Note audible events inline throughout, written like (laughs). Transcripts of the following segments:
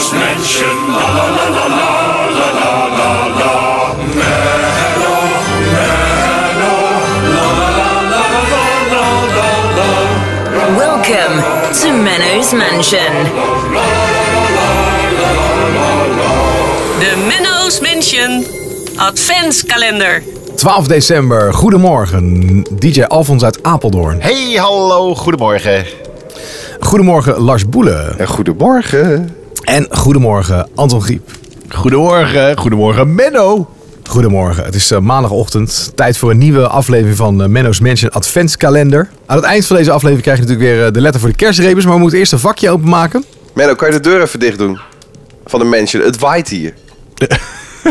Revolution. La la la la la la la la la. Mello, mello. La la la la la la la la. Welcome to Menno's Mansion. De Menno's Mansion Adventskalender. 12 december, goedemorgen. DJ Alfons uit Apeldoorn. Hey, hallo, goedemorgen. Goedemorgen Lars Boelen. En goedemorgen. En goedemorgen Anton Griep. Goedemorgen, goedemorgen Menno. Goedemorgen, het is eh, maandagochtend. Tijd voor een nieuwe aflevering van eh, Menno's Mansion Adventskalender. Aan het eind van deze aflevering krijg je natuurlijk weer eh, de letter voor de kerstrebus. Maar we moeten eerst een vakje openmaken. Menno, kan je de deur even dicht doen? Van de mansion. Het waait hier.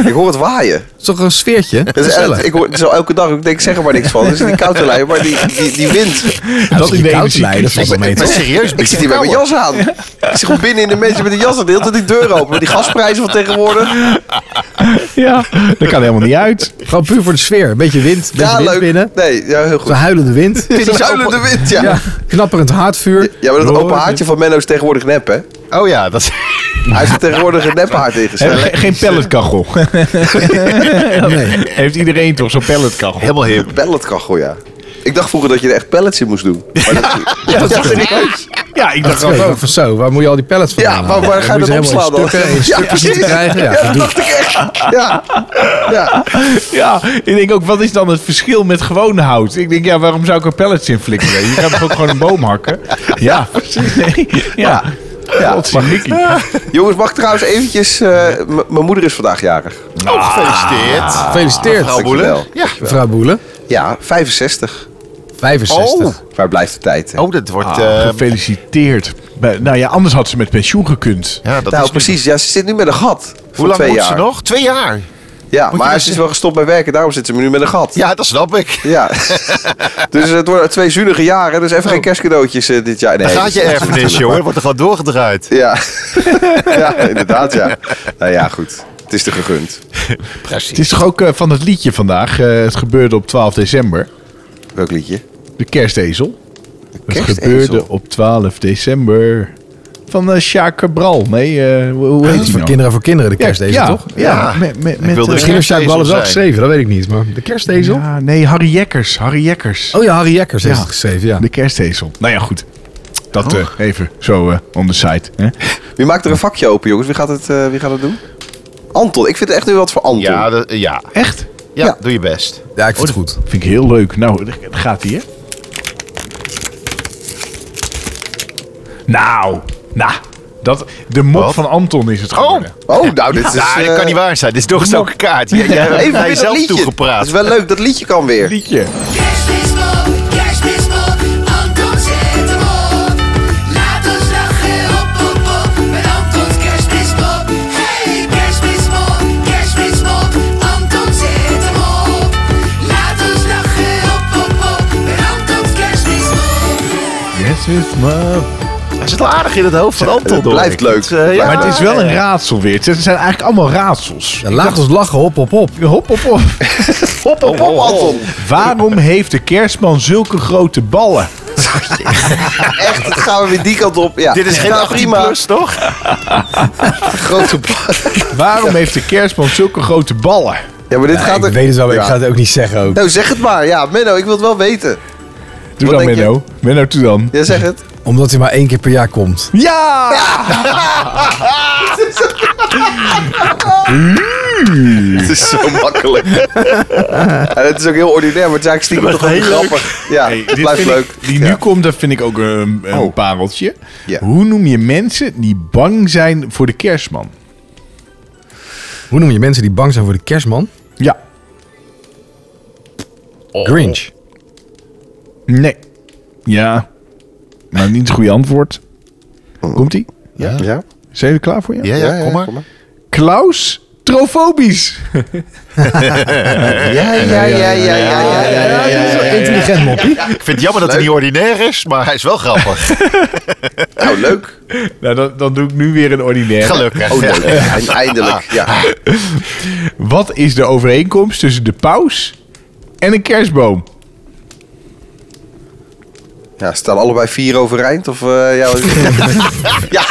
ik hoor het waaien. Het is toch een sfeertje? (laughs) Het is, Gezellig. ik hoor het is al elke dag. Ik denk, ik zeg er maar niks van. Er zit die koude lijn, maar die, die, die wind. dat je in de koud energie lijdt, dat valt (laughs) wel mee Maar toch? serieus, Ik zit hier met mijn jas aan. Ik zit gewoon binnen in de mansion met de jas aan. De hele tijd die deur open. Met die gasprijzen van tegenwoordig. Ja, dat kan helemaal niet uit. Gewoon puur voor de sfeer. Een beetje wind, een beetje Ja, wind leuk. binnen. Nee, ja, heel Zo'n goed. huilende (laughs) wind. Die zuilende wind, (laughs) ja. Ja, ja. knapperend haardvuur. maar dat Roar. open haartje van Menno is tegenwoordig nep, hè? Oh ja, dat is Hij heeft tegenwoordig een nep haart ingesteld. Geen, geen (laughs) pelletkachel. Nee. Heeft iedereen toch zo'n pelletkachel? helemaal hip. Pelletkachel, ja. Ik dacht vroeger dat je er echt pellets in moest doen. Maar dat, Ja, dat dacht ik ook. Ja, ik dacht Dat is ook. wel van zo, waar moet je al die pallets van Ja, halen? maar waar Dan ga je moet dat ze helemaal opslaan dan? in stukken, in Ja, stukjes moeten precies. krijgen. Ja, Ja, gedoe. dat dacht ik echt. Ja. ja. Ja, ik denk ook, wat is dan het verschil met gewoon hout? Ik denk, ja, waarom zou ik er pellets in flikkeren? Je kan toch ook gewoon een boom hakken? Ja, precies. Nee, (laughs) ja. Ja, Mickey. Jongens, mag ik trouwens eventjes... eh, m- Mijn moeder is vandaag jarig. Oh, gefeliciteerd. Gefeliciteerd, Mevrouw Boelen. Dankjewel. Ja. mevrouw Boelen. Ja, 65. 65. Waar blijft de tijd? hè? Oh, dat wordt... Ah, eh, Gefeliciteerd. Ehm, Bij- Nou ja, anders had ze met pensioen gekund. ja, dat nou, is precies. Ja, ze zit nu met een gat. Hoe lang twee moet jaar. ze nog? Twee jaar. Ja, maar dat ze is zeggen? wel gestopt met werken. Daarom zit ze nu met een gat. Ja, dat snap ik. Ja. dus het worden twee zunige jaren. Dus even geen kerstcadeautjes eh, dit jaar. Nee, Dan dat gaat je is- (laughs) erfenis, jongen. Wordt er gewoon doorgedraaid. Ja. (laughs) ja, inderdaad, ja. Nou ja, goed. Het is te gegund. Het is toch ook eh, van het liedje vandaag. eh, het gebeurde op 12 december. Welk liedje? De kerstezel. Het kerstezel? gebeurde op 12 december. Van eh Sjaak Cabral. Nee, eh, hoe, hoe heet Ah, Dat is die voor nou? kinderen voor kinderen, de kerstezel, ja, toch? Ja, Ja. Met, met, met, wilde eh, Misschien heeft Sjaak Ballers wel zijn. geschreven, dat weet ik niet. Maar de kerstezel? ja, nee, Harry Jekkers. Harry Jekkers. Oh ja, Harry Jekkers heeft Ja. het geschreven, ja. De kerstezel. Nou ja, goed. Dat eh, even zo eh on the side. Hè? Wie maakt er een vakje open, jongens? Wie gaat het, eh, wie gaat het doen? Anton. Ik vind het echt nu wat voor Anton. Ja, dat- ja. Echt? ja, Ja. doe je best. Ja, ik vind Oh, het goed. Vind ik heel leuk. Nou, daar gaat hij, hè? Nou, nou. Dat, de mop Wat? van Anton is het geworden. Oh, nou, dit is... nou, dat eh, kan (laughs) niet waar zijn. Dit is doorgestoken kaart. Jij, jij hebt naar Even weer dat jezelf liedje. Dat toegepraat. is wel leuk, dat liedje (laughs) kan weer. Liedje. Kerstmisbok, kerstmisbok, Anton zet hem op. Laat ons lachen, op, op, op, met Antons kerstmisbok. Hey, kerstmisbok, kerstmisbok, Anton zet hem op. Laat ons lachen, op, op, op, met Antons kerstmisbok. Yes, it's my... Hij zit al aardig in het hoofd van Anton. het hoor blijft ik. leuk. Het, eh, ja. Maar het is wel een raadsel weer. Het zijn eigenlijk allemaal raadsels. Ja, laat ons lachen, hop, hop, hop. Hop, hop, (laughs) hop. Hop, hop, hop, Anton. Waarom heeft de kerstman zulke grote (laughs) ballen? Echt, dan gaan we weer die kant op. Ja. Dit is geen Nou, 18 plus, toch? Grote ba- Waarom heeft de kerstman zulke grote ballen? Ja, maar dit Ja, gaat... ik er- weet het wel, maar ik Ja. ga het ook niet zeggen ook. Nou, zeg het maar. Ja, Menno, ik wil het wel weten. Doe Wat dan, denk je? Menno. Menno, doe dan. Ja, zeg het. Omdat hij maar één keer per jaar komt. Ja! Het is zo (laughs) makkelijk. en het is ook heel ordinair, maar het is eigenlijk stiekem toch ook grappig. Ja, Hey, het dit blijft vind ik- leuk. die nu Ja. Oh. komt, dat vind ik ook een, een pareltje. Ja. Hoe noem je mensen die bang zijn voor de kerstman? Hoe noem je mensen die bang zijn voor de kerstman? Ja. Oh. Grinch. Nee. Ja. Maar niet het goede antwoord. Komt-ie? Ja, ja, Ja? Zijn jullie klaar voor je? ja, kom maar. Klaus Trofobisch. (laughs) Ja, ja, ja, ja, ja, ja, ja. Ja, dat is wel intelligent moppie. Ik vind het jammer dat hij niet ordinair is, maar hij is wel grappig. Nou, leuk. Nou, dan, dan doe ik nu weer een ordinaire. Gelukkig. Oh, Ja. leuk. En eindelijk, ja. Wat is de overeenkomst tussen de paus en een kerstboom? Ja, staan (laughs) (laughs) allebei vier overeind? Of, eh, ja, wat- ja.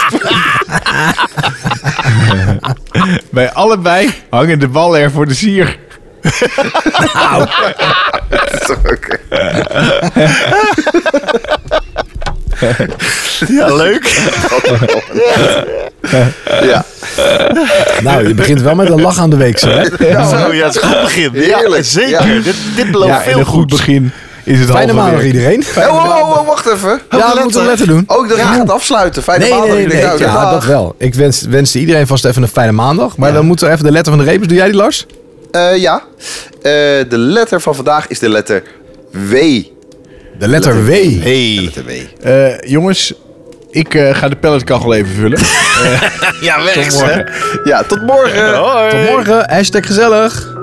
Bij allebei hangen de ballen er voor de sier. Oké. Ja, (laughs) leuk. Ja, Nou, je begint wel met een lach aan de week, hè? Zo, ja, het is een goed begin. Ja, Heerlijk, zeker. ja. Dit, dit belooft Ja, en veel een goed goed. begin is het Fijne halve maandag werk. iedereen. Hey, wow, wow, wow, wacht even. eh, Ja, we letter. moeten letter doen. Ook dat je gaat afsluiten. Fijne Nee, maandag. nee, nee. iedereen. nee. Dag. Ja, dat wel. Ik wens, wenste iedereen vast even een fijne maandag. Maar dan moeten we even de letter van de repers. Doe jij die, Lars? Eh, ja. Eh, de letter van vandaag is de letter W. De letter W. Hey. De W. Eh, jongens, ik eh, ga de pelletkachel even vullen. (laughs) Eh, Ja, werkt Morgen. Ja, tot morgen. Hoi. Tot morgen. Hashtag gezellig.